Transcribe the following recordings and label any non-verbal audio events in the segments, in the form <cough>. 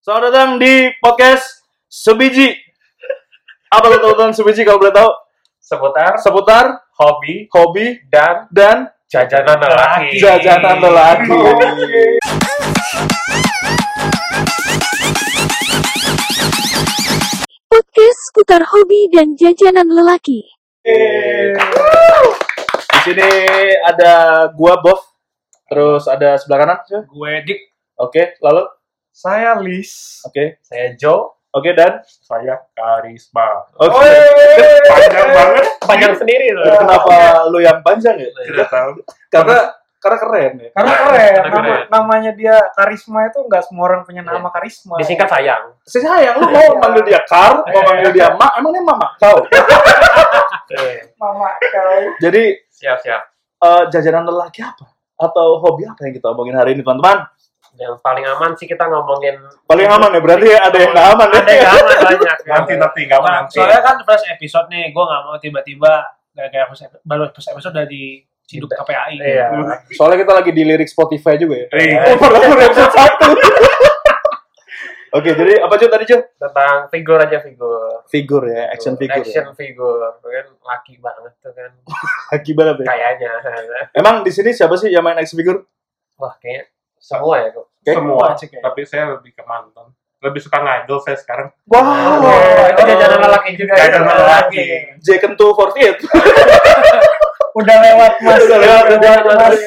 Selamat datang di podcast Sebiji. Apa tuh teman-teman Sebiji kalau boleh tahu? seputar Seputar hobi hobi dan dan jajanan lelaki. Oh. jajanan lelaki. Podcast seputar hobi dan jajanan lelaki. Di sini ada gua Bov, terus ada sebelah kanan. siapa? Gue Dik, Oke, lalu saya Lis, oke, saya Jo, oke dan saya Karisma. oke. Iya. Panjang banget, panjang sendiri loh. Kenapa lu yang panjang ya? Tidak tahu. Karena karena keren ya. Karena Keren, keren, karena nama- keren. namanya dia karisma itu nggak semua orang punya nama karisma. Iya. Disingkat sayang. Sayang lu mau manggil dia Kar, mau manggil dia Mak, emang dia Mama kau. Mama kau. Jadi Siap siap. eh, jajanan lelaki apa? Atau hobi apa yang kita omongin hari ini teman-teman? Yang paling aman sih kita ngomongin. Paling aman ya berarti ya ada yang nggak aman ya. <laughs> Ada yang nggak <laughs> aman banyak. Nah, nanti nanti nggak apa nanti soalnya kan first episode nih, gue nggak mau tiba-tiba kayak kayak first episode, baru first episode udah diciduk KPAI. Iya. Soalnya kita lagi di lirik Spotify juga ya. Iya. Oh, baru baru episode satu. <laughs> Oke, jadi apa Jo tadi Jo? Tentang figur aja figur. Figur ya, action figure. Action Ya. figure. Kan laki banget tuh kan. Laki banget ya. Kayaknya. Emang di sini siapa sih yang main action figure? Wah kayaknya semua ya kok. Oke. semua Cek ya. tapi saya lebih ke mantan lebih suka ngidol saya sekarang Wow. Oh, itu jajanan lelaki juga. Jajanan ya. lelaki. Jaken 248. Udah lewat mas. Udah lewat, udah Jajanan lewat. lelaki.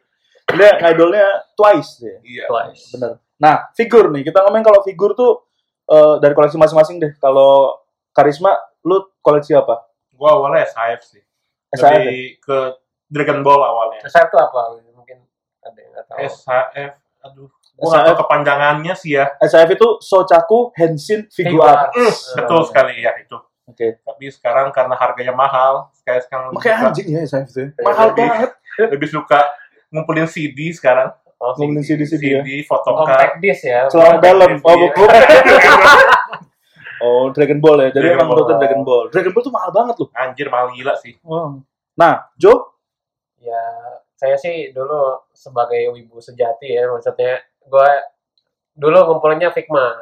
<laughs> Dia idolnya Twice dia. iya Twice. Bener. Nah, figur nih. Kita ngomongin kalau figur tuh eh, dari koleksi masing-masing deh. Kalau Karisma, lu koleksi apa? gua awalnya SIF sih SIF ya? lebih ke Dragon Ball awalnya Terus itu apa? Mungkin ada yang nggak tahu. SHF aduh gua nggak tahu kepanjangannya sih ya SIF itu Socaku Henshin Figuar. Mm, betul sekali ya itu Oke. tapi sekarang karena harganya mahal kayak sekarang lebih Makanya suka, anjing ya SIF itu. Iya, Mahal lebih- banget. lebih suka ngumpulin CD sekarang Oh, Ngomongin CD CD ya. photocard Compact disc ya. Celana dalam. Oh, Iya. bukan. <laughs> Oh, Dragon Ball ya. Jadi Dragon emang Ball. menurutnya Dragon Ball. Dragon Ball tuh mahal banget loh. anjir mahal gila sih Nah, Jo, Ya, saya sih dulu sebagai wibu sejati ya, maksudnya gue dulu ngumpulinnya Figma.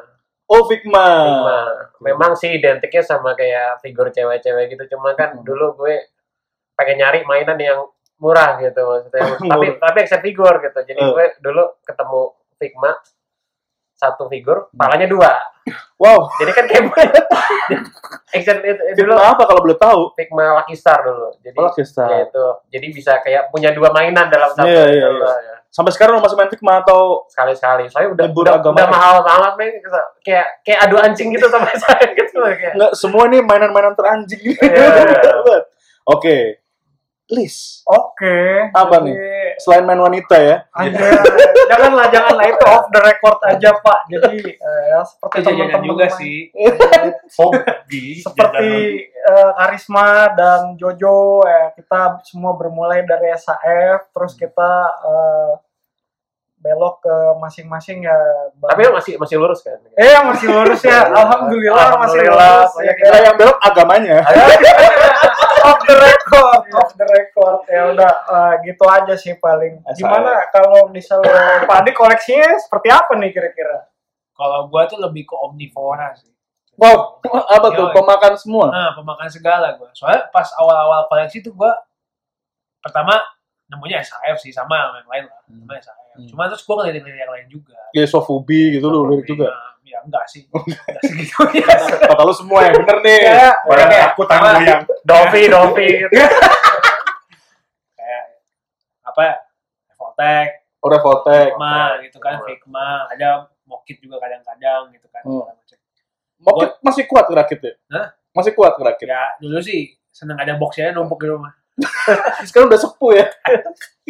oh Figma. Figma. Eh, Memang sih identiknya sama kayak figur cewek-cewek gitu, cuma kan Hmm. dulu gue pengen nyari mainan yang murah gitu <laughs> maksudnya. tapi Murah. tapi action figur gitu. Jadi Eh. gue dulu ketemu Figma satu figur, Hmm. palanya dua. Wow, Jadi kan kayak <laughs> action itu itu dulu Figma Oh, apa kalau boleh tahu? Figma Lucky Star dulu. Jadi Kalau ya kita itu jadi bisa kayak punya dua mainan dalam satu Iya, iya, gitu, iya. ya. sampai sekarang lo masih main Figma atau sekali-sekali soalnya udah Libur udah, agama. udah mahal banget nih kayak kayak adu anjing gitu sama <laughs> saya gitu loh, kayak nggak semua ini mainan-mainan teranjing gitu. <laughs> Iya. Oke. List. Oke. Apa jadi- nih? Selain main wanita ya. Anjir, Iya. janganlah, janganlah itu off the record aja pak. Jadi eh, seperti teman-teman main- <laughs> hobi seperti eh, Karisma dan Jojo eh, kita semua bermulai dari SAF terus kita eh, belok ke masing-masing ya Bang. tapi masih masih lurus kan eh yang masih lurus ya alhamdulillah, masih Alhamdulillah, lurus ya saya Kita kita yang belok agamanya. off the record off the record ya udah eh, gitu aja sih paling SAF. gimana kalau misalnya Pak Adi koleksinya seperti apa nih kira-kira Kalau gua tuh lebih ke omnivora sih. Wow, <laughs> apa tuh? Yoi. Pemakan semua. Nah, pemakan segala gua. Soalnya pas awal-awal koleksi tuh gua pertama nemunya SHF sih sama yang lain lah. Sama SHF. Hmm. Cuma terus gua ngelirik-ngelirik yang lain juga. Ya sofubi gitu loh, lirik juga. Oh. Nah, Ya enggak sih. Enggak segitunya. Kata lu semua yang bener <laughs> nih. Iya. ya Padahal aku tangan goyang Dovi Dovi Kayak apa? Voltek, Oh, Revoltek. Figma gitu kan, Figma, ada Mokit juga kadang-kadang gitu kan. Hmm. segala macam. Mungkin masih kuat ngerakitnya. Hah? Masih kuat ngerakit. Ya dulu sih seneng ada boxnya numpuk di rumah. Sekarang udah sepuh ya. <laughs>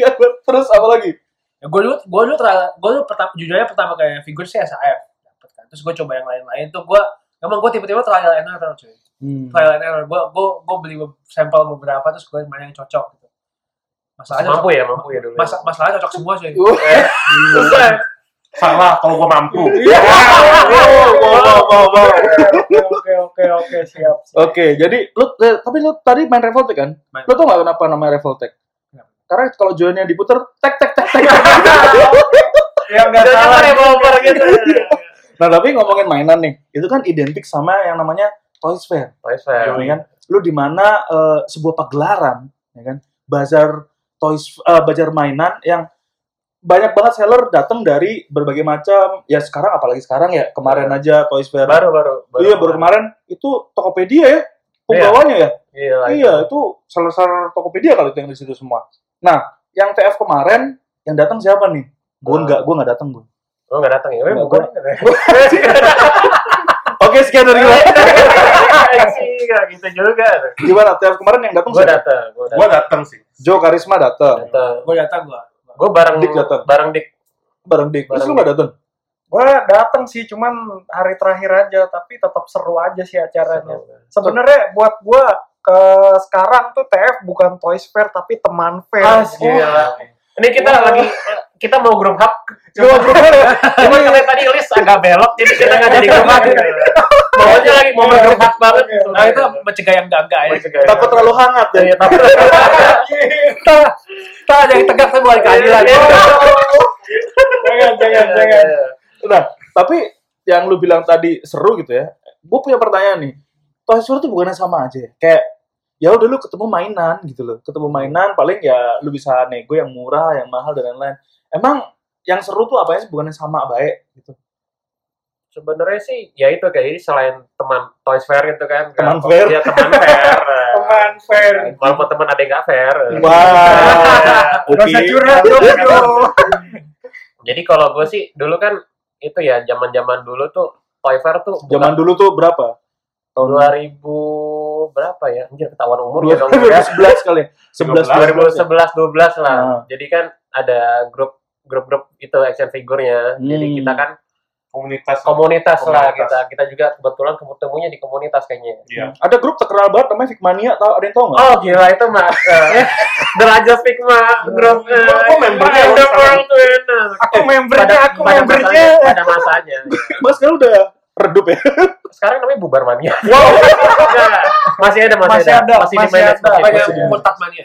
ya terus apa lagi? Ya, gue dulu, gue dulu, terlalu, gue dulu pertama, jujurnya pertama kayak figur sih SAF dapet kan. Terus gue coba yang lain-lain tuh gue, emang gue tiba-tiba trial and error cuy. Hmm. Trial and error, gue, gue, gue beli be- sampel beberapa terus gue main yang cocok gitu. Masalahnya, mampu ya mampu ya dulu masa, masalahnya cocok semua cuy. Iya. Wah. Susah. salah kalau gua mampu Iya. Wow, wow, wow, wow. oke oke oke oke siap siap. Oke, jadi lu eh, tapi lu tadi main Revoltek kan? Main. Lu tau gak kenapa namanya Revoltek? Kenapa? Iya. Karena kalau joinnya <laughs> diputer, tek tek tek tek. ya nggak Jangan salah revolver gitu Nah tapi ngomongin mainan nih, itu kan identik sama yang namanya Toys Fair, Toys Fair. ya kan? Lu di mana eh, sebuah pagelaran, ya kan? Bazar Toys, eh, bazar mainan yang banyak banget seller datang dari berbagai macam. Ya sekarang apalagi sekarang ya kemarin aja Toys Fair. Iya. Baru baru. iya baru kemarin itu Tokopedia ya pembawanya ya. Iya. lagi. Iya itu seller-seller Tokopedia kali itu yang di situ semua. Nah yang TF kemarin yang datang siapa nih? Gue Ah. nggak, gue nggak datang gue. Lo nggak datang ya? Weh, Nggak, <laughs> bukan. Oke sekian dari gue. Sih, nggak gitu juga. Gimana TF kemarin yang datang Gue siapa? datang. Iya. Gue Gua datang. dateng sih. Joe Karisma datang, datang. Gue datang gue. Gue bareng Dik datang. bareng Dik. bareng Dik. Terus Bareng lu gak datang? Gue dateng sih, cuman hari terakhir aja, tapi tetap seru aja sih acaranya. Sebenarnya buat gue ke sekarang tuh TF bukan Toys Fair tapi teman fair. Ah, Gila. Ini kita Wah. lagi kita mau grup hub. Lu mau berubah ya? <laughs> Cuma katanya tadi list agak belok jadi kita nggak jadi grup hub. Maunya lagi mau bergrup hub banget. Nah itu mencegah yang enggak-enggak ya. Takut terlalu hangat ya? Iya, takut. Kita ada yang tegak semua Iya, yang keadilan. jangan, jangan, jangan. Nah, tapi yang lu bilang tadi seru gitu ya. Gue punya pertanyaan nih. Toys Fair tuh bukannya sama aja ya? Kayak ya udah lu ketemu mainan gitu loh. Ketemu mainan paling ya lu bisa nego yang murah, yang mahal dan lain-lain. Emang yang seru tuh apanya sih bukannya sama baik gitu. Sebenarnya sih ya itu kayak jadi selain teman Toys Fair gitu kan. Teman Nggak- fair. Iya, <laughs> teman fair. Nah, Teman fair. Walaupun teman ada yang nggak fair. Iya. Wah, Gak usah curhat dong, Jo. Jadi kalau gue sih dulu kan itu ya zaman-zaman dulu tuh Toy Fair tuh Zaman dulu tuh berapa? Tahun bukan 2000 berapa ya? Anjir ketahuan umur ya dong. 2011 kali. ya? 11 2011 12. 12 lah. Ah. Jadi kan ada grup grup-grup itu action figurnya. Jadi Hmm. kita kan Komunitas. komunitas, lah Komunitas. kita. Kita juga kebetulan ketemunya di komunitas kayaknya. Iya. Ada grup terkenal banget namanya Fikmania, tahu ada yang tahu nggak? Oh gila itu mah eh, derajat Figma grup eh, Aku membernya, Wonder aku World eh, nah. tuh enak. Aku membernya, aku pada membernya. masanya- pada masanya. Mas sekarang udah redup ya. Sekarang namanya bubar mania. Gitu, Nah, <laughs> masih ada masih, Masih ada, masih, masih dimanage, ada. masih Kayak dimanage. murtad mania.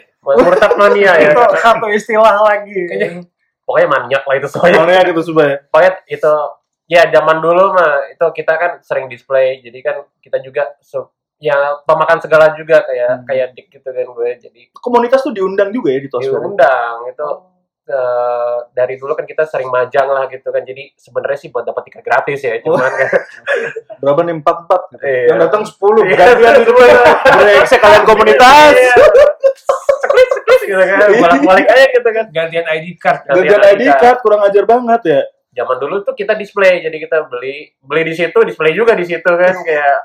murtad mania ya. Itu satu istilah lagi. Iya. Kayaknya- Pokoknya maniak lah itu soalnya. Soalnya gitu supaya. pokoknya itu ya zaman dulu mah itu kita kan sering display jadi kan kita juga su- ya pemakan segala juga Hmm. kayak kayak dik gitu kan gue jadi Komunitas tuh diundang juga ya di Toys Fair. Iya, diundang itu eh, dari dulu kan kita sering majang lah gitu kan jadi sebenarnya sih buat dapat tiket gratis ya <laughs> cuman kan Berapa nih? 44 gitu. Iya. Yang datang 10. Iya, Gantian gitu <laughs> ya. Brengsek kalian komunitas. Iya. seklis seklis gitu <laughs> kan bolak balik aja gitu kan Gantian ID card. Gantian Gantian ID ID card kurang ajar banget ya. zaman dulu tuh kita display jadi kita beli beli di situ display juga di situ kan <laughs> kayak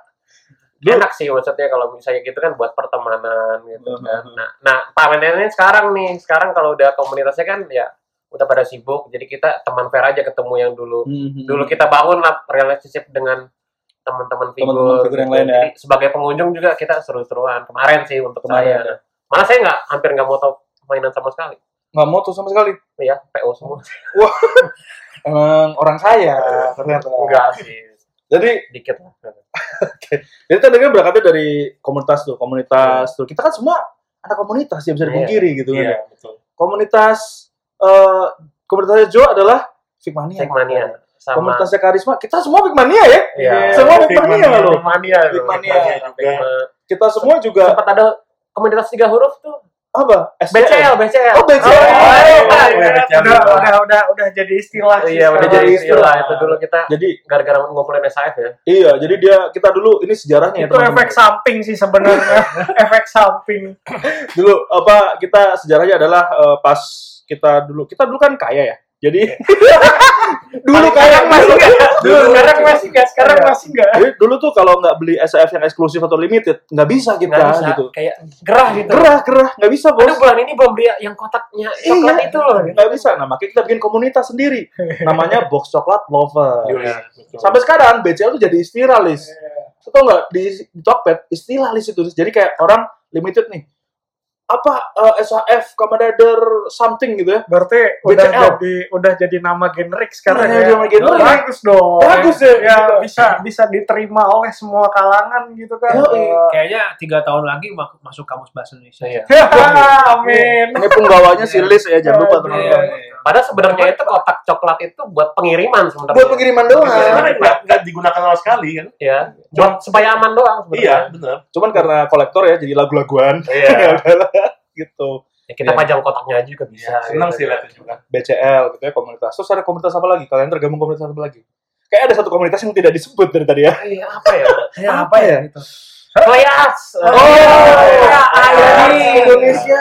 enak sih maksudnya kalau misalnya gitu kan buat pertemanan gitu kan nah nah pertemanannya sekarang nih sekarang kalau udah komunitasnya kan ya udah pada sibuk jadi kita teman fair aja ketemu yang dulu dulu Hmm. kita bangun lah relationship dengan teman-teman Teman-teman figur, gitu. figur yang lain ya. Jadi sebagai pengunjung juga kita seru-seruan kemarin sih untuk Kemarin ya. saya malah saya nggak hampir nggak mau tau mainan sama sekali nggak mau tuh sama sekali. ya PO semua Emang orang kaya ternyata. enggak sih Jadi <laughs> dikit lah jadi tadi kan berangkatnya dari komunitas tuh, komunitas tuh. Kita kan semua anak komunitas ya bisa Iya. dipungkiri gitu kan. ya. Iya, betul. Komunitas eh komunitasnya Jo adalah Iya. Fikmania. Sekmania sama Komunitasnya Karisma, kita semua Fikmania ya. Iya. Semua Fikmania. Fikmania loh. Mania, Big Mania. Mania. Kita semua juga Iya. Sempat ada komunitas tiga huruf tuh. apa? BCL, BCL. Oh, BCL. iya, iya, Oh, iya. BCL. Udah, udah, udah, udah jadi istilah. sih Iya, udah sekarang. jadi Jadi istilah istilah. itu dulu kita Jadi gara-gara ngumpulin SAF ya. iya, jadi dia kita dulu ini sejarahnya Iya, ya, Itu teman-teman. efek samping sih <laughs> sebenarnya. efek samping. Dulu apa kita sejarahnya adalah eh, pas kita dulu kita dulu kan kaya ya. <laughs> Jadi dulu kaya masih nggak. Dulu. Sekarang masih nggak. Sekarang Iya. masih nggak. Jadi dulu tuh kalau nggak beli SF yang eksklusif atau limited nggak bisa kita Nggak bisa, gitu. kayak gerah gitu. Gerah gerah nggak bisa bos. Aduh, bulan ini belum beli yang kotaknya coklat Iya. itu loh. Nggak bisa. Nah makanya kita bikin komunitas sendiri. <laughs> Namanya box coklat lover. Iya, betul. Sampai sekarang BCL tuh jadi istilah list. Iya. Lu tau nggak di, di Tokped istilah list itu jadi kayak orang limited nih apa eh, SHF Commander something gitu ya Berarti udah BCL. jadi udah jadi nama generik sekarang Iya, ya. nama generik. Bagus dong. Bagus ya, Ya, gitu. bisa bisa diterima oleh semua kalangan gitu kan. Yoi. Kayaknya tiga tahun lagi mak- masuk kamus bahasa Indonesia. Iya. Ya, <laughs> amin. <laughs> ini penggawanya si list ya jangan lupa Iya, teman-teman iya. Padahal sebenarnya itu kotak coklat itu buat pengiriman sebenarnya. buat pengiriman doang. Sebenarnya Iya, nggak nggak digunakan sama sekali kan? Ya, buat supaya aman doang Iya, sebenarnya. benar. Cuman karena kolektor ya jadi lagu-laguan. Iya. Ya udahlah, <laughs> gitu. Ya, kita Iya. pajang kotaknya aja juga bisa. Senang gitu. sih lihat itu juga. BCL gitu ya komunitas. Terus ada komunitas apa lagi? Kalian tergabung komunitas apa lagi? Kayak ada satu komunitas yang tidak disebut dari tadi ya. Iya, apa ya? Ya, apa ya? Gitu. Kleas. Oh, iya. ayo Indonesia.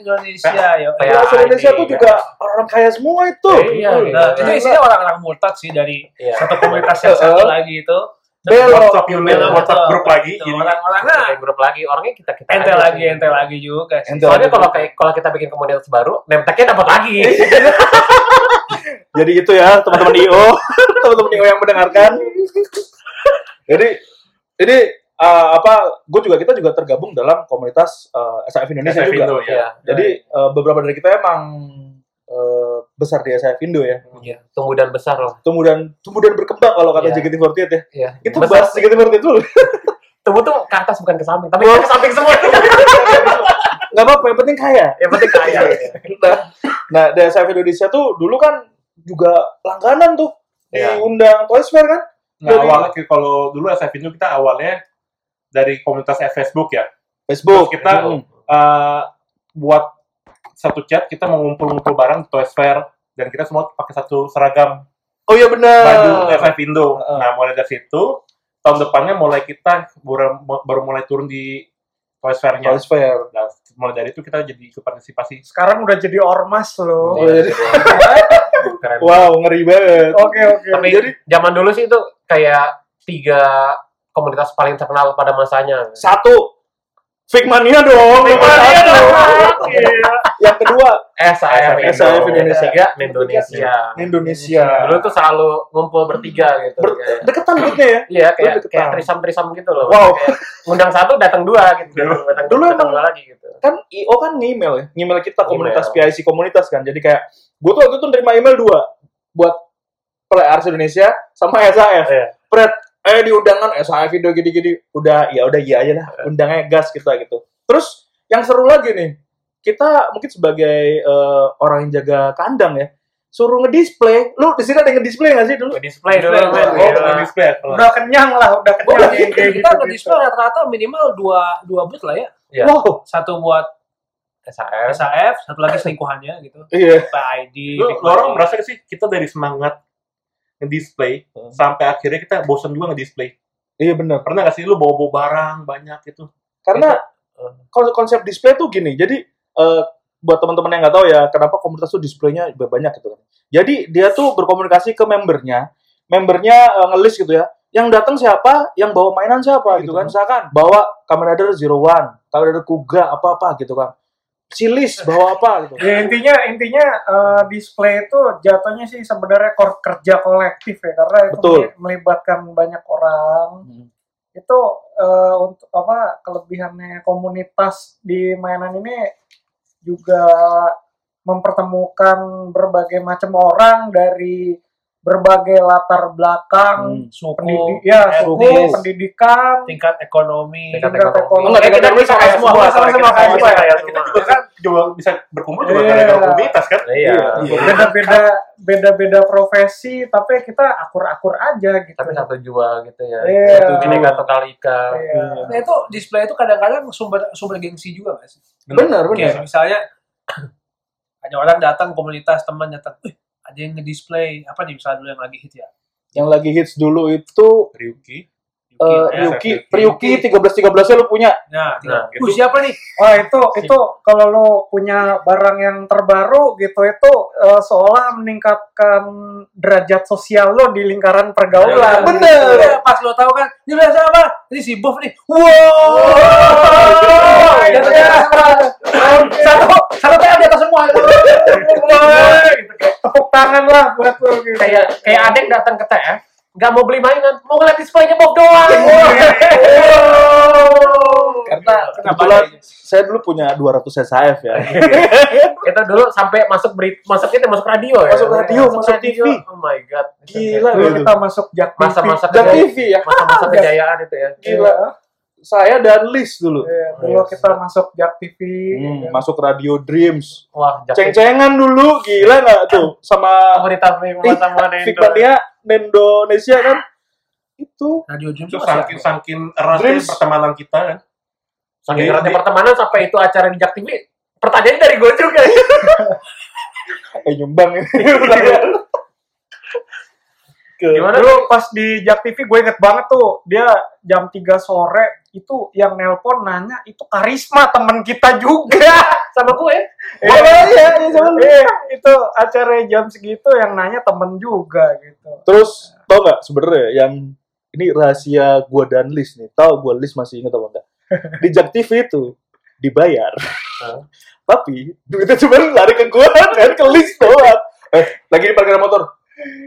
Indonesia, yo. Kayak Ya, Indonesia ID, tuh ya. juga orang-orang kaya semua itu. Iya, Nah, itu isinya orang-orang murtad sih dari Iya. satu komunitas yang satu Heeh. lagi itu. Belok. WhatsApp unit, Belok, WhatsApp betul. grup lagi. Iya. Gitu. Jadi Orang-orang nah, Bikin grup lagi orangnya kita kita ente aja lagi, sih. ente lagi juga sih. Ente Soalnya lagi. kalau kayak kalau kita bikin komunitas baru, name tag-nya dapat lagi. Jadi itu ya teman-teman IO, teman-teman IO yang mendengarkan. Jadi ini eh, apa? Gue juga kita juga tergabung dalam komunitas eh, SAF Indonesia SF juga. Indo, ya. Iya. Jadi eh, beberapa dari kita emang eh, besar di SAF Indo ya. Iya, tumbuh dan besar loh. Tumbuh dan tumbuh dan berkembang kalau kata Iya. JKT48 ya. Iya. Itu Besar. bahas JKT48 dulu. <laughs> Tumbuh tuh ke atas bukan ke samping, tapi ke samping <laughs> semua. Gak apa-apa, yang penting kaya. Yang penting kaya. Nah, nah di SAF Indonesia tuh dulu kan juga langganan tuh Iya. diundang Toys Fair kan. Nah, Jadi- awalnya ki- kalau dulu SF Indo kita awalnya dari komunitas F Facebook ya. Facebook. Terus kita Eh, buat satu chat kita mau ngumpul-ngumpul barang di Toys Fair dan kita semua pakai satu seragam Oh iya benar. baju FF Indo. Eh. Nah, mulai dari situ tahun depannya mulai kita baru, baru mulai turun di Toys Ya. Fair-nya. Toys Fair. Nah, mulai dari itu kita jadi ikut partisipasi. Sekarang udah jadi ormas loh. Oh, jadi- Iya. Keren. Wow, ngeri banget. Oke oke. Tapi Jadi- zaman dulu sih itu kayak tiga komunitas paling terkenal pada masanya. Satu, Figmania dong. Figmania Satu. dong. Yang kedua, SAF SAF Indo. Indonesia. Ketiga, Indonesia. Indonesia. Dulu tuh selalu ngumpul bertiga gitu. Ber- kayak- deketan gitu ya. Iya, kayak, deketan. kayak trisam-trisam gitu loh. Wow. Kayak ngundang satu, datang dua gitu. Dulu- datang dulu datang emang- dua lagi gitu. Kan IO kan email ya. Email kita komunitas Email. PIC komunitas kan. Jadi kayak gue tuh waktu itu nerima email dua buat Play Arts Indonesia sama SAF. Iya. Pret, eh diundangan SAF video gini-gini. Udah, ya udah iya aja lah. Undangnya gas kita gitu. Terus yang seru lagi nih, kita mungkin sebagai eh, orang yang jaga kandang ya, suruh ngedisplay. Lu di sini ada yang ngedisplay nggak sih dulu? Display dulu. Display, men. Oh, Iya. bukan display kalau Udah kenyang lah, udah kenyang. Kita Kayak kita gitu-gitu. ngedisplay rata-rata minimal dua dua booth lah ya. Iya. Wow, Satu buat SAF. SAF, satu lagi selingkuhannya gitu. iya. PID. Lu, lu orang merasa nggak sih kita dari semangat ngedisplay sampai akhirnya kita bosan juga ngedisplay. Iya benar. Pernah nggak sih lu bawa-bawa barang banyak gitu? Karena kon- konsep display tuh gini. Jadi eh, buat teman-teman yang nggak tahu ya kenapa komunitas tuh displaynya banyak gitu kan. Jadi dia tuh berkomunikasi ke membernya. Membernya eh, ngelis gitu ya. Yang datang siapa, yang bawa mainan siapa gitu, kan. Misalkan bawa Kamen Rider Zero One, Kamen Rider Kuga apa-apa gitu kan. Si list bawa apa gitu. Ya, intinya <laughs> intinya eh, display itu jatuhnya sih sebenarnya kor- kerja kolektif ya karena itu Betul. meli- melibatkan banyak orang Hmm. itu eh, untuk apa kelebihannya komunitas di mainan ini juga mempertemukan berbagai macam orang dari berbagai latar belakang Hmm. pendidik suku, ya etnis, suku pendidikan tingkat ekonomi. Tingkat tingkat ekonomi. Enggak, tingkat Kita ekonomi bisa sama kayak semua, sama semua. Kita semua, bisa sama kayak Ya, semua. kita juga kan juga bisa berkumpul juga Iya. gara-gara komunitas kan? Iya. Iya. beda-beda beda-beda profesi tapi kita akur-akur aja gitu Tapi satu jua gitu ya. Iya. Satu bineka tunggal ika. Iya. Hmm. Nah itu display itu kadang-kadang sumber sumber gengsi juga nggak sih? Benar, benar. Kayak misalnya <coughs> ada orang datang komunitas teman datang, "Wih, ada yang ngedisplay apa nih misalnya dulu yang lagi hit ya? Yang lagi hits dulu itu Ryuki. eh, Yuki, ya. Ryuki, Ryuki. Ryuki 13-13-nya lu punya. Nah, Nah, tinggal, "Wuh, itu- siapa nih? oh itu itu kalau lo punya barang yang terbaru gitu itu eh, seolah meningkatkan derajat sosial lo di lingkaran pergaulan Bener. Iya, pas lo tahu kan, dia bilang siapa? Ini si Bob nih. Wow. Dia tuh iya. Satu, satu teh di atas semua. tepuk tangan lah buat lo gitu Kayak kayak adek datang ke TF, nggak mau beli mainan, mau ngeliat displaynya Bob doang. Iya. Karena kebetulan saya dulu punya 200 SAF ya. Itu dulu sampai masuk berita, masuk itu masuk radio ya. Masuk radio, masuk radio. TV. Oh my god. Gila. Dulu kita masuk jak Masa-masa Dan <laughs> kejayaan. TV ya. Masa-masa kejayaan itu ya. Gila. saya dan Liz dulu. Iya, dulu Yes. kita masuk Jak TV Hmm, ya kan. masuk Radio Dreams. Wah, Jack Ceng-cengan dulu, gila nggak tuh? Sama pemerintah pemerintah Nendo. Fikmania Indonesia kan? Itu. Radio itu Dreams itu saking siapa? saking eratnya Dreams. pertemanan kita kan Iya. Saking Di- eratnya di- pertemanan sampai itu acara di Jak TV. Pertanyaannya dari gue juga. ya. Iya. Eh, nyumbang ini. Ke- Gimana? dulu pas di Jak TV gue inget banget tuh dia jam 3 sore itu yang nelpon nanya itu karisma temen kita juga <laughs> Sama ya? gue. Iya, iya, iya, sama lu. Iya, itu acara jam segitu yang nanya temen juga <laughs> gitu <laughs> Terus tau nggak sebenarnya yang ini rahasia gua dan Liz nih. Tahu gua Liz masih ingat apa <laughs> enggak? Di Jak TV itu dibayar. Hah? Tapi duitnya cuma lari ke gua <laughs> dan ke Liz doang. Eh, lagi di parkiran motor.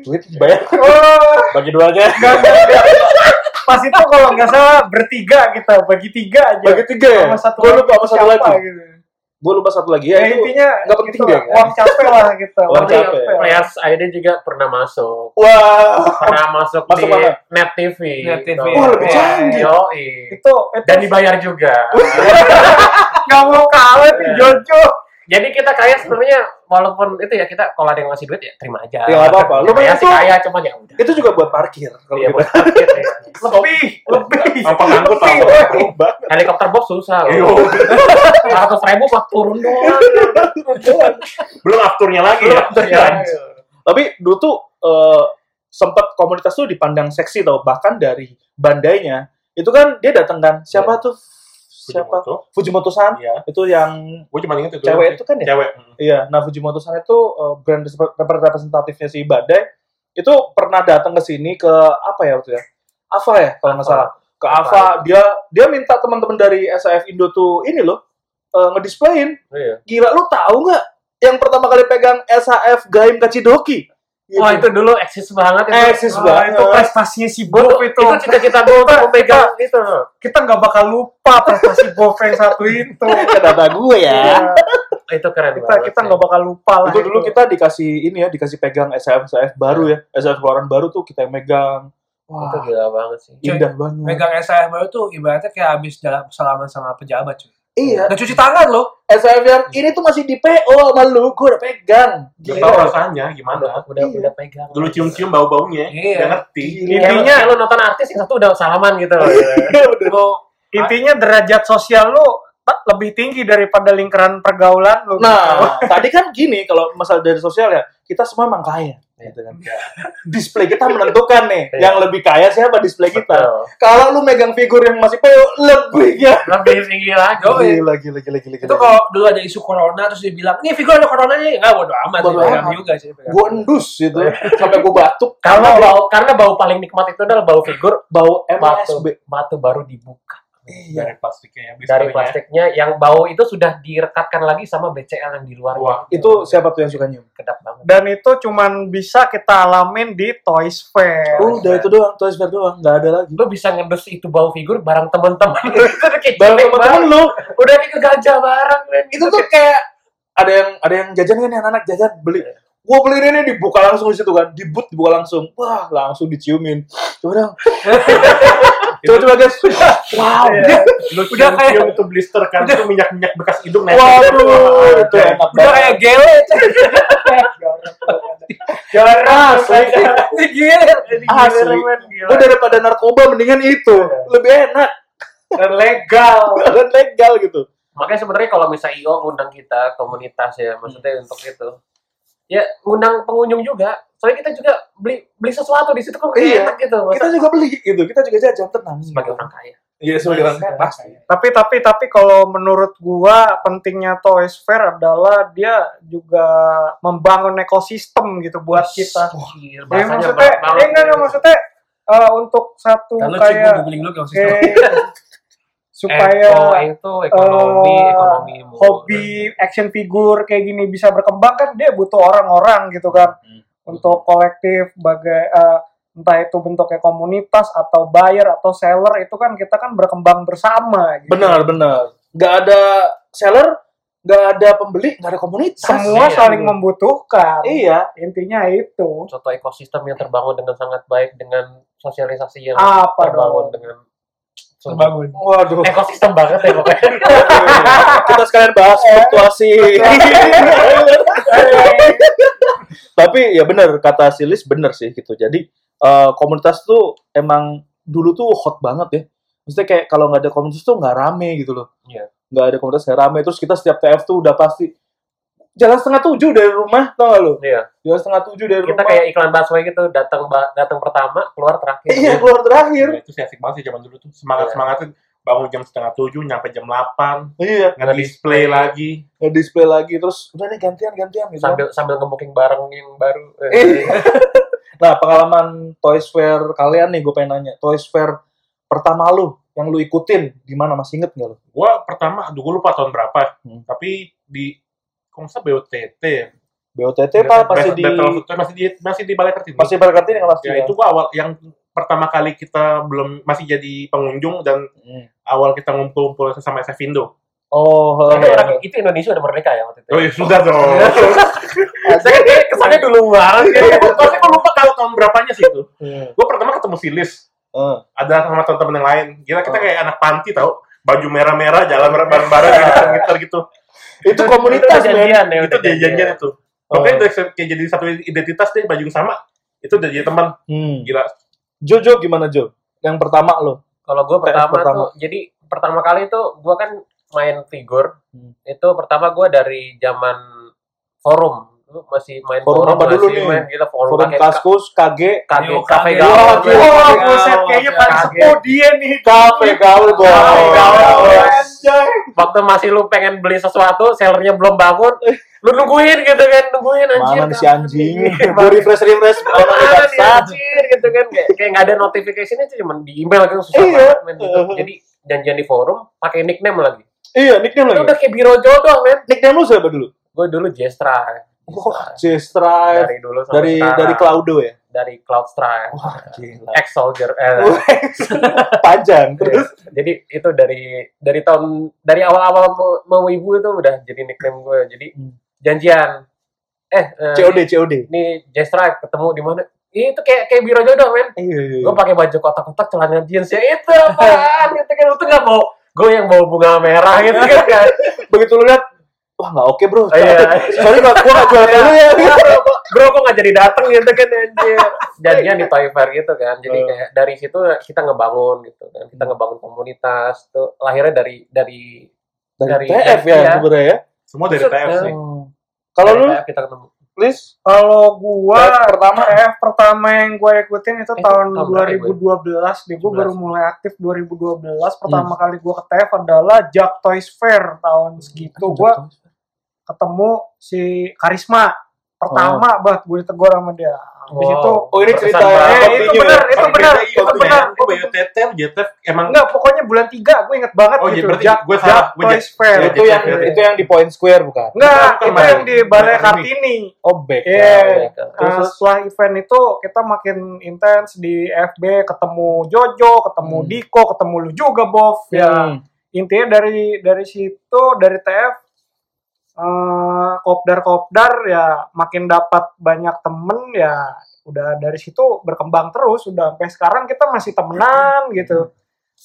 Duit dibayar. Bagi dua aja. Kan, pas itu kalau nggak salah bertiga kita bagi tiga aja Bagi tiga ya. Sama satu Gua lagi lupa sama satu siapa lagi. gitu. Gua lupa satu lagi ya, ya itu. intinya nggak penting gitu dia, lah, kan? uang capek lah kita Uang uang Tapi capek. Players ID juga pernah masuk. Wah. Pernah masuk, Oh, Masuk di mana? Net TV. Net TV. Tuh. Wah, lebih canggih. Yoi. itu itu Dan dibayar juga. Nah, nggak mau Iya. kalah nih Jojo Jadi kita kaya sebenarnya walaupun itu ya kita kalau ada yang ngasih duit ya terima aja. Ya, nggak apa-apa. Lu kaya mah sih itu- kaya cuman ya udah. Itu juga buat parkir kalau gitu. kita. Iya, buat parkir <laughs> ya. lebih lebih apa ngangkut Lebih, apa woy. Helikopter box susah. Iya. loh. 400 ribu buat turun doang. belum afturnya lagi ya Iya. Tapi dulu tuh sempat komunitas tuh dipandang seksi tau bahkan dari bandainya itu kan dia datang kan siapa Iya. tuh siapa tuh Fujimoto San iya itu yang gue cuma inget itu cewek itu kan ya cewek hmm. iya nah Fujimoto San itu eh, brand resep- representatifnya si Badai itu pernah datang ke sini ke apa ya waktu ya Ava ya kalau nggak Ava. salah ke Ava. Ava dia dia minta teman-teman dari SAF Indo tuh ini loh eh, ngedisplayin Iya. gila lu tahu nggak yang pertama kali pegang SAF Gaim Eh, Kachidoki Gitu. Wah itu dulu eksis banget itu. eksis banget Wah, Ah, itu prestasinya si Bob itu itu cita-cita gue untuk memegang itu. kita nggak bakal lupa prestasi Bob yang satu <laughs> itu kata gue ya. Iya, Itu keren kita banget. kita sih. nggak bakal lupa lah Itu dulu kita dikasih ini ya, dikasih pegang SAF SAF baru ya, SAF keluaran baru tuh kita yang megang. itu Wah, gila banget sih. indah banget. Megang SAF baru tuh ibaratnya kayak habis jalan salaman sama pejabat cuy. Iya, Nggak cuci tangan loh. SAF yang ini tuh masih di PO sama lu, gue udah pegang. Gak tau rasanya gimana Udah udah, Iya. udah pegang. dulu cium-cium bau-baunya Iya. gak ngerti Gila. Intinya lu nonton artis yang satu udah salaman gitu. Iya, Lu intinya derajat sosial lu tak lebih tinggi daripada lingkaran pergaulan lu Nah, tadi kan gini kalau masalah dari sosial ya, kita semua emang kaya. Gitu kan. Display kita menentukan nih, Iya. yang lebih kaya siapa display kita. Betul. Kalau lu megang figur yang masih PO, lebih ya. Lebih tinggi lagi. Oh, iya. Gila, gila, gila, gila, itu kalau dulu ada isu corona terus dibilang nih figur ada corona nih nggak bodo amat Bodo dipegang amat. juga sih dipegang. gue endus gitu, sampai gue batuk Karena bau karena bau paling nikmat itu adalah bau figur bau batu MSB. batu baru dibuka Iya. dari plastiknya ya dari bisternya. plastiknya yang bau itu sudah direkatkan lagi sama BCL yang di luar. Wah, Itu siapa tuh yang suka nyium? kedap banget. dan itu cuman bisa kita alamin di Toys Fair Toys Udah Fair. itu doang, Toys Fair doang, nggak ada lagi. Lu bisa ngendus itu bau figur bareng temen-temen. <laughs> itu udah kayak Barang jelek teman-teman banget. lu, Udah kayak kegajah bareng. men. itu tuh kayak ada yang ada yang jajan kan yang anak jajan beli. Gua beli ini nih, dibuka langsung di situ kan, dibut dibuka langsung, wah langsung diciumin. Coba <laughs> dong. coba coba guys. Iya. Wow. lu Udah kayak- cium-cium itu blister kan itu minyak-minyak bekas hidung Uh, nempel. Waduh, itu enak udah banget. kayak gele Jarang, asli. gila Iya Asli. Gua Oh, daripada narkoba mendingan itu, lebih enak dan legal dan legal gitu. Makanya sebenarnya kalau misalnya IO ngundang kita komunitas ya, Hmm. maksudnya untuk itu. Ya ngundang pengunjung juga. Soalnya kita juga beli beli sesuatu di situ kok kayak Iya. enak gitu. Masa Kita juga beli gitu, kita juga jajan tenang. sebagai orang kaya. Iya, sebagai orang kaya, pasti. <laughs> tapi tapi tapi kalau menurut gua pentingnya Toys Fair adalah dia juga membangun ekosistem gitu buat kita. Gila, Ya bahasanya maksudnya, banget. eh, enggak enggak maksudnya eh, untuk satu kalau cuy gua kayak googling dulu kayak sistem kayak <laughs> supaya Eko, itu ekonomi, eh, ekonomi murah. hobi action figure kayak gini bisa berkembang kan dia butuh orang-orang gitu kan Hmm. untuk kolektif bagai eh, entah itu bentuknya komunitas atau buyer atau seller itu kan kita kan berkembang bersama gitu. Benar, benar. Nggak ada seller, nggak ada pembeli, nggak ada komunitas. Iya, semua saling membutuhkan Iya, intinya itu suatu ekosistem yang terbangun dengan sangat baik dengan sosialisasi yang apa terbangun dong dengan terbangun. Waduh. ekosistem banget ya pokoknya <laughs> Kita sekalian bahas fluktuasi. <laughs> Iya. Tapi ya benar kata Silis benar sih gitu. Jadi eh, komunitas tuh emang dulu tuh hot banget ya. Maksudnya kayak kalau nggak ada komunitas tuh nggak rame gitu loh. Iya. Nggak ada komunitas nggak rame. Terus kita setiap TF tuh udah pasti jalan setengah tujuh dari rumah tau gak lu? Iya. Jalan setengah tujuh dari kita rumah. kayak iklan busway gitu datang ba- datang pertama keluar terakhir iya keluar terakhir. Ya, itu sih asik banget sih zaman dulu tuh semangat semangatnya bangun jam setengah tujuh nyampe jam delapan Iya. nggak display lagi Nggak display lagi terus udah nih gantian gantian gitu. sambil sambil ngebuking bareng yang baru iya. Eh. Nah, pengalaman Toys Fair kalian nih gue pengen nanya. Toys Fair pertama lu yang lu ikutin gimana masih inget nggak lu? gua pertama aduh gua lupa tahun berapa Hmm. tapi di kalau nggak salah BOTT ya BOTT apa masih Battle- di Battle of- masih di masih di balai kartini Iya. masih pada kartini nggak pasti ya, itu gua awal yang pertama kali kita belum masih jadi pengunjung dan Hmm. awal kita ngumpul-ngumpul sama SF Indo. Oh, Itu, eh, orang, itu Indonesia udah merdeka ya waktu itu. Oh iya sudah dong. <laughs> Saya kan kayak kesannya dulu banget. ya. Iya, iya, Pasti gua lupa kalau tahun berapanya sih itu. eh, Gua pertama ketemu Silis, eh. ada sama teman-teman yang lain. Gila kita Oh. kayak anak panti tau. Baju merah-merah, jalan bareng-bareng, gitar-gitar gitu. <laughs> itu komunitas itu men. janjian ya. Itu udah janjian itu. Oh. Oke, udah kayak jadi satu identitas deh, baju yang sama. Itu udah jadi teman. Hmm. Gila. Jojo gimana Jo? Yang pertama lo? Kalau gue pertama, pertama. tuh, jadi pertama kali itu gue kan main figur. Hmm. Itu pertama gue dari zaman forum. Lu masih main Forum forum, apa masih dulu nih? main gila forum. Forum Kayak Kaskus, KG, ka- kafe- Yo, kafe kafe. gaul. Wah, gila. Wah, Gaul, buset, kayaknya gaul, paling gaul. sepuh dia nih. KP gaul boy. Gaul, Gaul, boy. anjay. Waktu masih lu pengen beli sesuatu, sellernya belum bangun, lu nungguin gitu kan, nungguin anjir. Mana nih si kapan anjing? <laughs> nih? <laughs> Gue refresh refresh. Mana Mana nih nih bangsat? anjir gitu kan kayak kayak nggak ada notification-nya itu cuma di email kan susah Iya. banget men gitu. Jadi janjian di forum pakai nickname lagi. Iya, nickname Itu lagi. udah kayak biro jodoh men. Nickname lu siapa dulu? Gue dulu Jestra. Wah, Strive. Dari dulu Eh, dari sampai sekarang. dari Oh. Claudio ya. dari Cloud Strike. Wah, gila. Ex Soldier. <laughs> Eh, Wah, <laughs> Panjang terus. iya. Jadi itu dari dari tahun dari awal-awal mau- mau ibu itu udah jadi nickname gue. Jadi Hmm. janjian. Eh, eh, COD COD. ini Jestra ketemu di mana? Ih, Itu kayak kayak biro jodoh men. Iya, iya, iya. gue pakai baju kotak-kotak celana jeans ya itu apaan gitu kan itu nggak mau gue yang bawa bunga merah gitu kan kan Begitu lu lihat, wah nggak oke bro. Iya. Sorry nggak gua nggak jualan dulu ya. bro kok nggak jadi datang gitu kan anjir jadinya di Toy Fair gitu kan jadi Hmm. kayak dari situ kita ngebangun gitu kan kita ngebangun komunitas tuh lahirnya dari dari Dari, Dari- TF ya iya. sebenarnya ya. Semua dari Maksud- TF Eh, sih. Oh. Kalau dari lu, TF kita ketemu please. Kalau gua Tes pertama. TF pertama yang gua ikutin itu Eh, tahun tahun berapa ya, 2012 deh. Gua baru 11. mulai aktif 2012. Pertama kali gua ke TF adalah Jack Toys Fair tahun segitu. Gua ketemu si Karisma pertama banget gue ditegur sama dia habis Wow. itu Oh, ini Berkesan cerita ya. banget. Eh, itu benar, itu Tapi benar, beda, itu iya, benar. Iya. Gua BOTT, JTF emang enggak pokoknya bulan 3 gue inget banget Oh, iya, gitu berarti Jak- gue Jak salah, gue Toys Jak- Fair Iya, Itu yang itu yang di Point Square bukan? enggak Bukan, itu bukan. yang di Balai Balai Kartini Oh, back. Iya. Nah, Terus, Nah, terus. setelah event itu kita makin intens di FB ketemu Jojo ketemu Hmm. Diko ketemu lu juga Bov ya intinya dari dari situ dari TF eh kopdar kopdar ya makin dapat banyak temen ya udah dari situ berkembang terus udah sampai sekarang kita masih temenan Hmm. gitu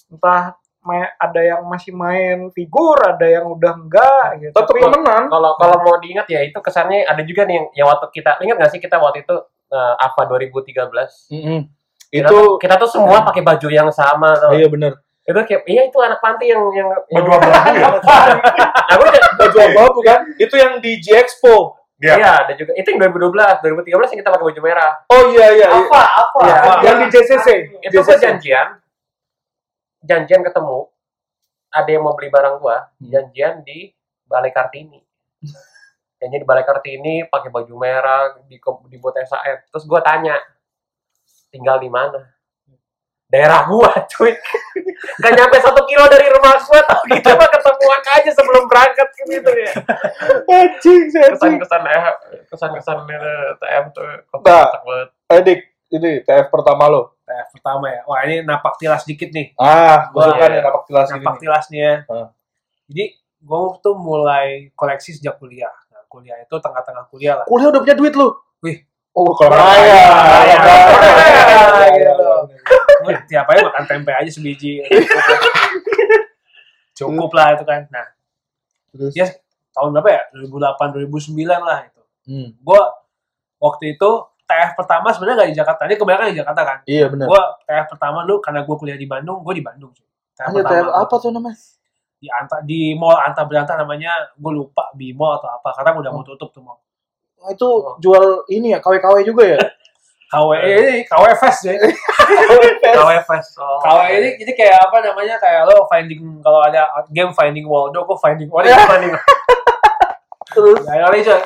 entah ma- ada yang masih main figur ada yang udah enggak gitu Tetap temenan. kalau kalau mau diingat ya itu kesannya ada juga nih yang, yang waktu kita ingat nggak sih kita waktu itu eh, apa 2013 Mm-mm. Itu Kita tuh- kita tuh semua pakai baju yang sama tau. Hmm. iya benar. itu kayak iya itu anak panti yang yang baju yang- abu-abu ya. Nah, gua udah- Baju apa bukan? Itu yang di G Expo. Iya. iya ada juga itu yang 2012 2013 yang kita pakai baju merah Oh iya iya. iya. apa apa Iya. apa? Yang di JCC. itu gua janjian janjian ketemu ada yang mau beli barang gua janjian di balai <laughs> kartini janjian di balai kartini pakai baju merah di dibuat SAF terus gua tanya tinggal di mana daerah gua <laughs> cuy gak nyampe satu kilo dari rumah gua tapi kita mah ketemuan aja sebelum berangkat gitu ya Anjing, anjing. kesan-kesan eh, kesan-kesan eh, TM tuh Nah. kotak-kotak banget. Edik, ini TF pertama lo. TF pertama ya. Wah, ini napak tilas dikit nih. Ah, gue Wah, suka nih iya. lapak tilas ini. Napak tilas nih ya. Heeh. Jadi gue tuh mulai koleksi sejak kuliah. Nah, kuliah itu tengah-tengah kuliah lah. Kuliah udah punya duit lu. Wih. Oh, kalau Kaya, kaya. kaya, Kaya, kaya, kaya, gitu. kaya. gue tiap hari makan tempe aja <laughs> sebiji. Cukup lah itu kan. Nah, Terus? ya tahun berapa ya? 2008, 2009 lah itu. Hmm. Gue waktu itu TF pertama sebenarnya nggak di Jakarta. Ini kebanyakan di Jakarta kan. Iya benar. Gue TF pertama lu karena gue kuliah di Bandung, gue di Bandung. cuy. TF Ada pertama. TF apa tuh namanya? Di, Anta, di mall Anta Beranta namanya, gue lupa Bimo atau apa. Karena udah Oh. mau tutup tuh mall. Wah, Itu jual ini ya, KW-KW juga ya? KW E ini KW Fest <laughs> ya. KW. Fest. Oh. KW E ini jadi kayak apa namanya kayak lo finding kalau ada game finding Waldo, gue finding Waldo, finding <laughs> Terus Ya, kali coy.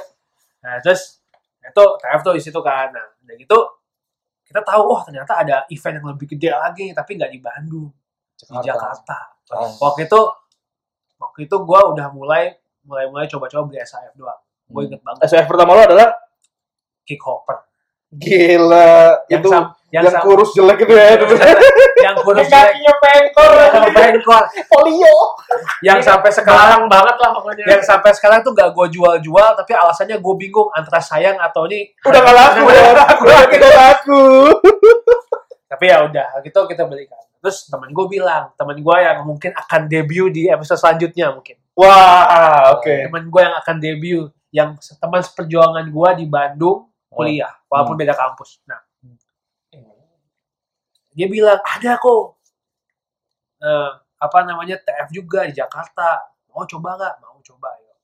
Nah, terus itu TF tuh di situ kan. Nah, udah gitu kita tahu oh ternyata ada event yang lebih gede lagi tapi nggak di Bandung, di Jakarta. Oh. Waktu itu waktu itu gue udah mulai mulai mulai coba-coba beli SAF doang. Gue inget banget SWF pertama lo adalah kick hopper. gila Yang itu sam- yang, yang, sam- <laughs> kurus jelek itu ya. itu. yang kurus jelek, kakinya pengkor yang bengkol, Polio. yang sampai Sekarang sekarang banget lah pokoknya. yang sampai sekarang tuh gak gue jual-jual tapi alasannya gue bingung antara sayang atau ini Udah gak laku ya. Udah tidak laku. tapi ya udah gitu kita belikan terus teman gue bilang teman gue yang mungkin akan debut di episode selanjutnya mungkin Wah, oke. teman gue yang akan debut yang se- teman seperjuangan gue di Bandung Oh. kuliah walaupun Hmm. beda kampus nah dia bilang ada kok eh, apa namanya TF juga di Jakarta mau coba nggak mau coba ayo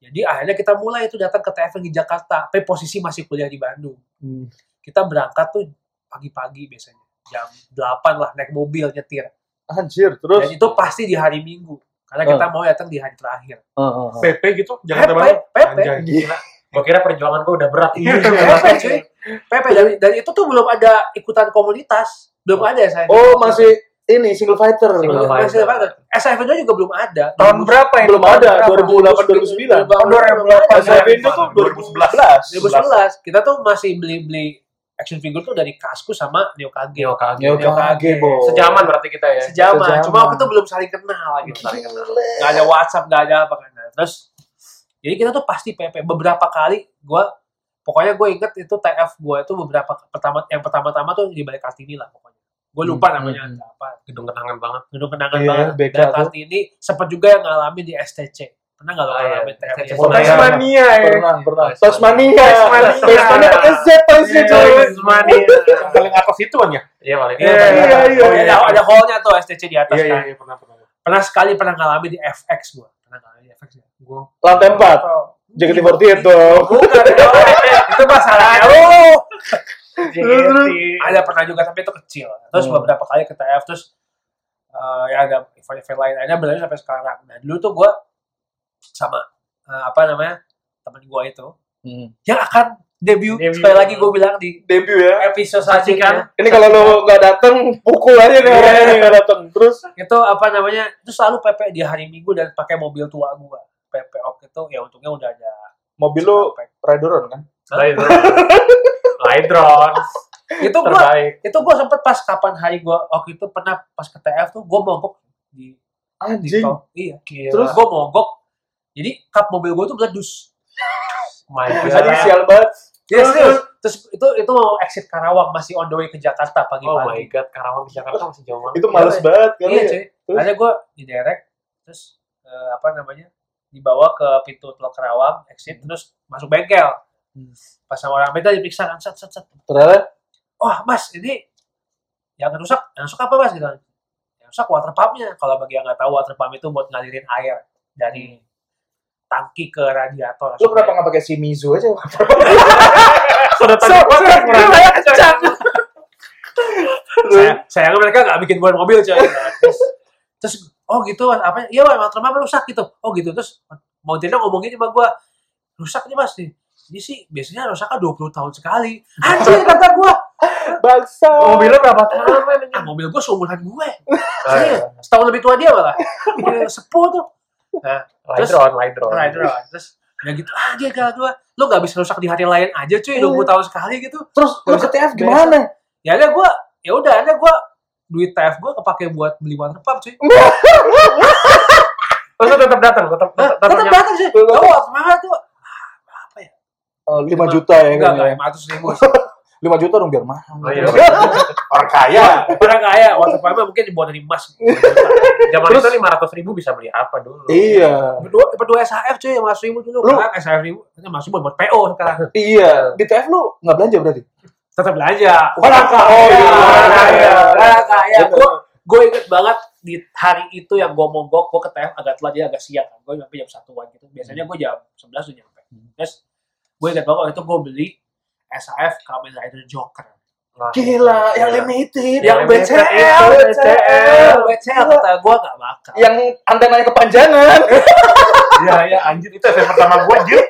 jadi akhirnya kita mulai itu datang ke TF yang di Jakarta tapi posisi masih kuliah di Bandung Hmm. kita berangkat tuh pagi-pagi biasanya jam 8 lah naik mobil nyetir Anjir, terus Oh. dan itu pasti di hari Minggu karena kita mau datang di hari terakhir Heeh, heeh. PP gitu Jakarta Pepe Bandung Pepe Gila. Gue kira perjuangan gue udah berat. Iya. Pepe cuy Pepe dan, dan itu tuh belum ada ikutan komunitas belum ada saya Oh, masih ini single fighter. Iya, Single fighter. masih ada SFN juga belum ada tahun berapa itu Belum ada, 2008 2009. Tahun Oh, 2008 SFN itu tuh 2011. 2011. 2011 kita tuh masih beli-beli action figure tuh dari Kasku sama Neo Kage Geo Iya. kaget. Yo kage, Bo. Iya, Sejaman berarti kita ya. sejaman. Sejaman. Cuma waktu itu belum saling kenal gitu. Saling kenal. Nggak ada WhatsApp, nggak ada apa kan. Nah, Terus jadi kita tuh pasti PP beberapa kali gue pokoknya gue inget itu TF gue itu beberapa pertama yang pertama-tama tuh di balik kartini lah pokoknya gue lupa Hmm, namanya hmm, apa Gedung kenangan banget. gedung kenangan Iya, banget BK balik tuh. kartini sempat juga yang ngalamin di STC pernah nggak lo Ah, iya. ngalamin TF STC Pernah. Senayan. Tasmania ya Pernah, pernah. Tasmania. Tasmania. Iya. Tasmania. Tasmania pakai Z tulisnya coy. Money. yang Iya, paling atas itu kan ya Iya paling. Iya, Iya, iya, Oh, iya. ada, ada hallnya tuh STC di atas iya iya kan. iya pernah pernah Pernah sekali pernah ngalamin di FX gue. Pernah ngalamin di FX. Gue Lantai 4. JKT48 dong. Bukan, itu masalahnya lu. Ada Ada pernah juga tapi itu kecil. Terus Hmm. beberapa kali ke TF terus eh, ya ada event-event lain. Akhirnya berlanjut sampai sekarang. Nah dulu tuh gue sama eh, apa namanya teman gue itu Hmm. yang akan debut, Debut. sekali lagi gue bilang di Debut ya. episode selanjutnya Ini kalau lo nggak dateng, pukul aja nih orangnya nih Iya, nggak dateng. Terus itu apa namanya itu selalu PP di hari Minggu dan pakai mobil tua gue. PP waktu itu ya untungnya udah ada. mobil lo rideron kan? Lydron. Itu gue Terbaik. itu gue sempet pas kapan hari gue waktu itu pernah pas ke TF tuh gue mogok di di Anjing. tol. iya terus Terus? gue mogok jadi kap mobil gue tuh beledus My Tadi God. sial banget. Iya, serius. terus itu itu mau exit Karawang masih on the way ke Jakarta Oh my pagi-pagi God. Karawang ke Jakarta masih jauh banget. Itu males banget kan? iya cuy Terus? akhirnya gue di direct terus eh, apa namanya dibawa ke pintu tol Karawang exit terus masuk bengkel pas sama orang bengkel diperiksa kan set set set Ternyata wah mas ini yang rusak yang rusak apa mas gitu yang rusak water pumpnya kalau bagi yang nggak tahu water pump itu buat ngalirin air dari tangki ke radiator lo kenapa nggak pakai si Mizu <laughs> aja? Sedotan gua kan kurang. Saya, sayangnya mereka nggak bikin buat mobil coy terus, terus, oh gitu Mas. apa iya mas water pump rusak gitu oh gitu terus mau tidak ngomongin sama gua rusak nih mas nih ini sih biasanya rusaknya 20 tahun sekali <laughs> anjir kata gua Bangsa. Mobilnya berapa tahun? ah mobil gua seumuran <laughs> gue Iya. Serius, setahun lebih tua dia malah Iya, sepuh tuh Lydron, Lydron. Right, right. Terus udah gitu, ah dia gagal dua. Lo gak bisa rusak di hari lain aja cuy, 20 tahun sekali gitu. Iya. Terus lo ke TF gimana? Ya ada gue, ya udah ada gue duit TF gue kepake buat beli water pump cuy. Terus lu tetap datang, ya? tetap Nah, tetap tetap nyampe. datang sih. kan? Tahu apa mahal tuh? Oh, 5 juta ya Enggak, kan? enggak, ya? 500 ribu. 5 juta dong biar mahal. Oh, iya. Orang kaya. Orang ya. kaya, water pipe mungkin dibuat dari emas. Zaman Terus- itu lima ratus ribu bisa beli apa dulu? Iya. Berdua, eh, berdua SHF cuy, yang masuk ibu dulu. Lu- Sekarang SHF ibu, ini masuk buat buat PO <laughs> sekarang. Iya. Di TF lu nggak belanja berarti? Tetap belanja. Orang kaya. Oh, iya. Orang Ah, kaya. Orang kaya. Bener. Gue gue inget banget di hari itu yang gue mogok, gue ke TF agak telat, jadi agak siang. Gue nyampe jam satuan gitu. Biasanya gue jam 11 udah nyampe. Terus gue inget banget waktu itu gue beli SAF Kamen Rider Joker. Nah, Gila, iya. yang limited, Yang yang limited BCL, itu, BCL. BCL kata gue gak bakal. Yang antenanya <laughs> kepanjangan. Iya, iya, anjir. Itu yang pertama gua, anjir.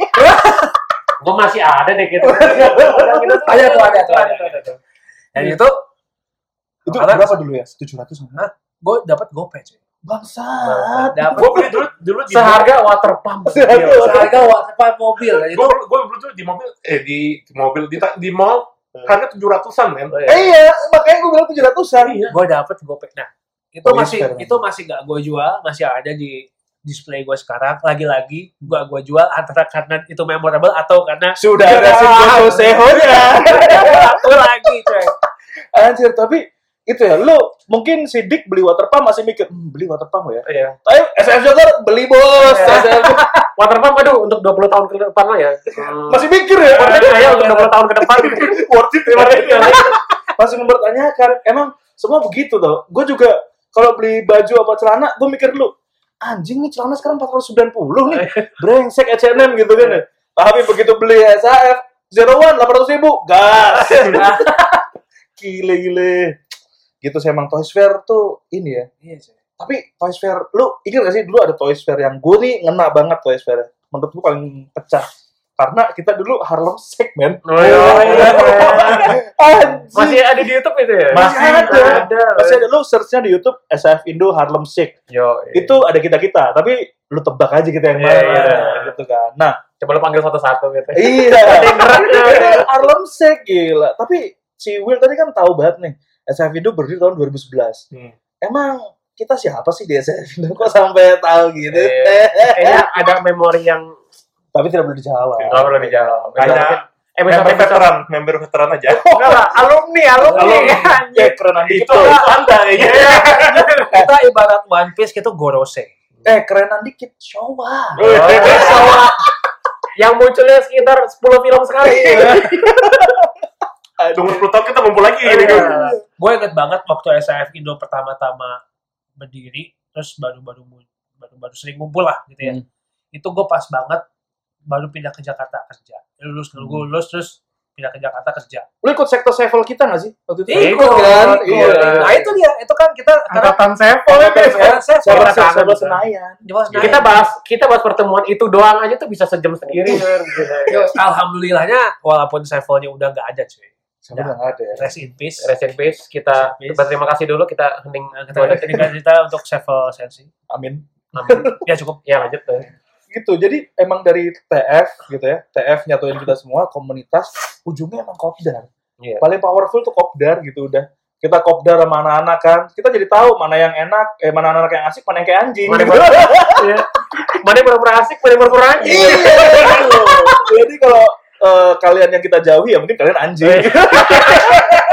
Gue masih ada deh gitu. Iya, Ada tuh, ada tuh, ada tuh. tuh. Dan itu Itu Makanya- berapa dulu ya? 700 sama. gue dapat gopay cuy. Bangsat. Dapat Gua beli dulu, dulu di Seharga water pump. Seharga Gila. water- harga waterpan mobil. Dan itu Gua gua beli dulu di mobil, eh di di mobil di ta- di mall harga tujuh ratusan men. Oh, iya. Eh, <laughs> iya, makanya gue bilang 700-an. gue dapet gopay. Nah itu Oh, iya, masih sekarang. itu masih gak gue jual, masih ada di display gue sekarang. Lagi-lagi gak gue jual antara karena itu memorable atau <laughs> karena Sudah ada Shingo Sehonya. satu lagi cuy. <laughs> Anjir, tapi itu ya, lu mungkin sidik beli water pump masih mikir, hmm, beli water pump ya. Iya. Tapi SF Joker beli bos, SF Joker. Water pump aduh untuk 20 tahun ke depan lah ya. Hmm. masih mikir ya. Worth it lah ya untuk 20 tahun ke depan. <laughs> worth it daripada itu yang lain. Masih mempertanyakan, emang semua begitu tuh. Gue juga kalau beli baju apa celana, gue mikir dulu, anjing nih celana sekarang 490 nih, brengsek H&M gitu kan ya. Tapi begitu beli SAF, zero one 800 ribu, gas. gile gile. Gitu sih emang Toys Fair tuh ini ya. Iya cuy. Tapi Toys Fair, lu ingat gak sih dulu ada Toys Fair yang gue nih ngena banget Toys Fair. Menurut gue paling pecah. Karena kita dulu Harlem Shake, men. Oh, iya. Anjing. Masih ada di YouTube itu iya. ya? Masih ada. Ada. Masih ada lu searchnya di YouTube SF Indo Harlem Shake. Yo, iya. Itu ada kita-kita, tapi lu tebak aja kita yang Iya, mana iya. gitu kan. Nah, coba lu panggil satu-satu gitu. iya. Ada yang gerak, ya. Itu Harlem Shake gila. Tapi si Will tadi kan tahu banget nih, SF Indo berdiri tahun 2011. Hmm. Emang kita siapa sih di SF Indo kok sampai tahu gitu? Kayaknya ada memori yang tapi tidak boleh dijawab. nggak perlu dijawab. Kayaknya Eh, bisa Iya. member bisa veteran, member veteran aja. Enggak lah, alumni, alumni. <laughs> Alumni. Anjing. Ya, keren dikit Itu dong. anda Iya. ya. Kita ibarat One Piece gitu, itu Gorose. Eh, kerenan dikit. Showa. Showa. <laughs> yang munculnya sekitar 10 film sekali. Iya. Iya. Tunggu 10 tahun kita ngumpul lagi gitu. gue inget banget waktu SAF Indo pertama-tama berdiri terus baru-baru mun- baru-baru sering ngumpul lah gitu Hmm. ya itu gue pas banget baru pindah ke Jakarta kerja lulus Hmm. dulu gue lulus terus pindah ke Jakarta kerja Lu ikut sektor sevel kita gak sih? Waktu itu? Ikut, kan? ikut. Iya. nah itu dia itu kan kita karena Angkatan sepo. Sevel- Sevel- Sevel Sevel- Sevel Sevel- Senayan. Jelas, nah, Iya. Ya, Kita bahas kita bahas pertemuan itu doang aja tuh bisa sejam sendiri. Iya, Iya. Ger. yo, alhamdulillahnya walaupun sevelnya udah nggak ada cuy Sevel udah nggak ada ya. rest in peace Rest in peace, kita Rest in peace. berterima kasih dulu kita hening Nah, kita udah cerita untuk sevel sensi Amin. Amin. ya cukup Ya lanjut tuh. gitu jadi emang dari TF gitu ya TF nyatuin kita semua komunitas ujungnya emang kopdar Iya. paling powerful tuh kopdar gitu udah kita kopdar sama anak-anak kan kita jadi tahu mana yang enak eh mana anak yang asik mana yang kayak anjing Mana yang gitu. Iya. Mana yang pura-pura asik, mana yang pura-pura anjing. iya Iya. jadi kalau eh, kalian yang kita jauhi ya mungkin kalian anjing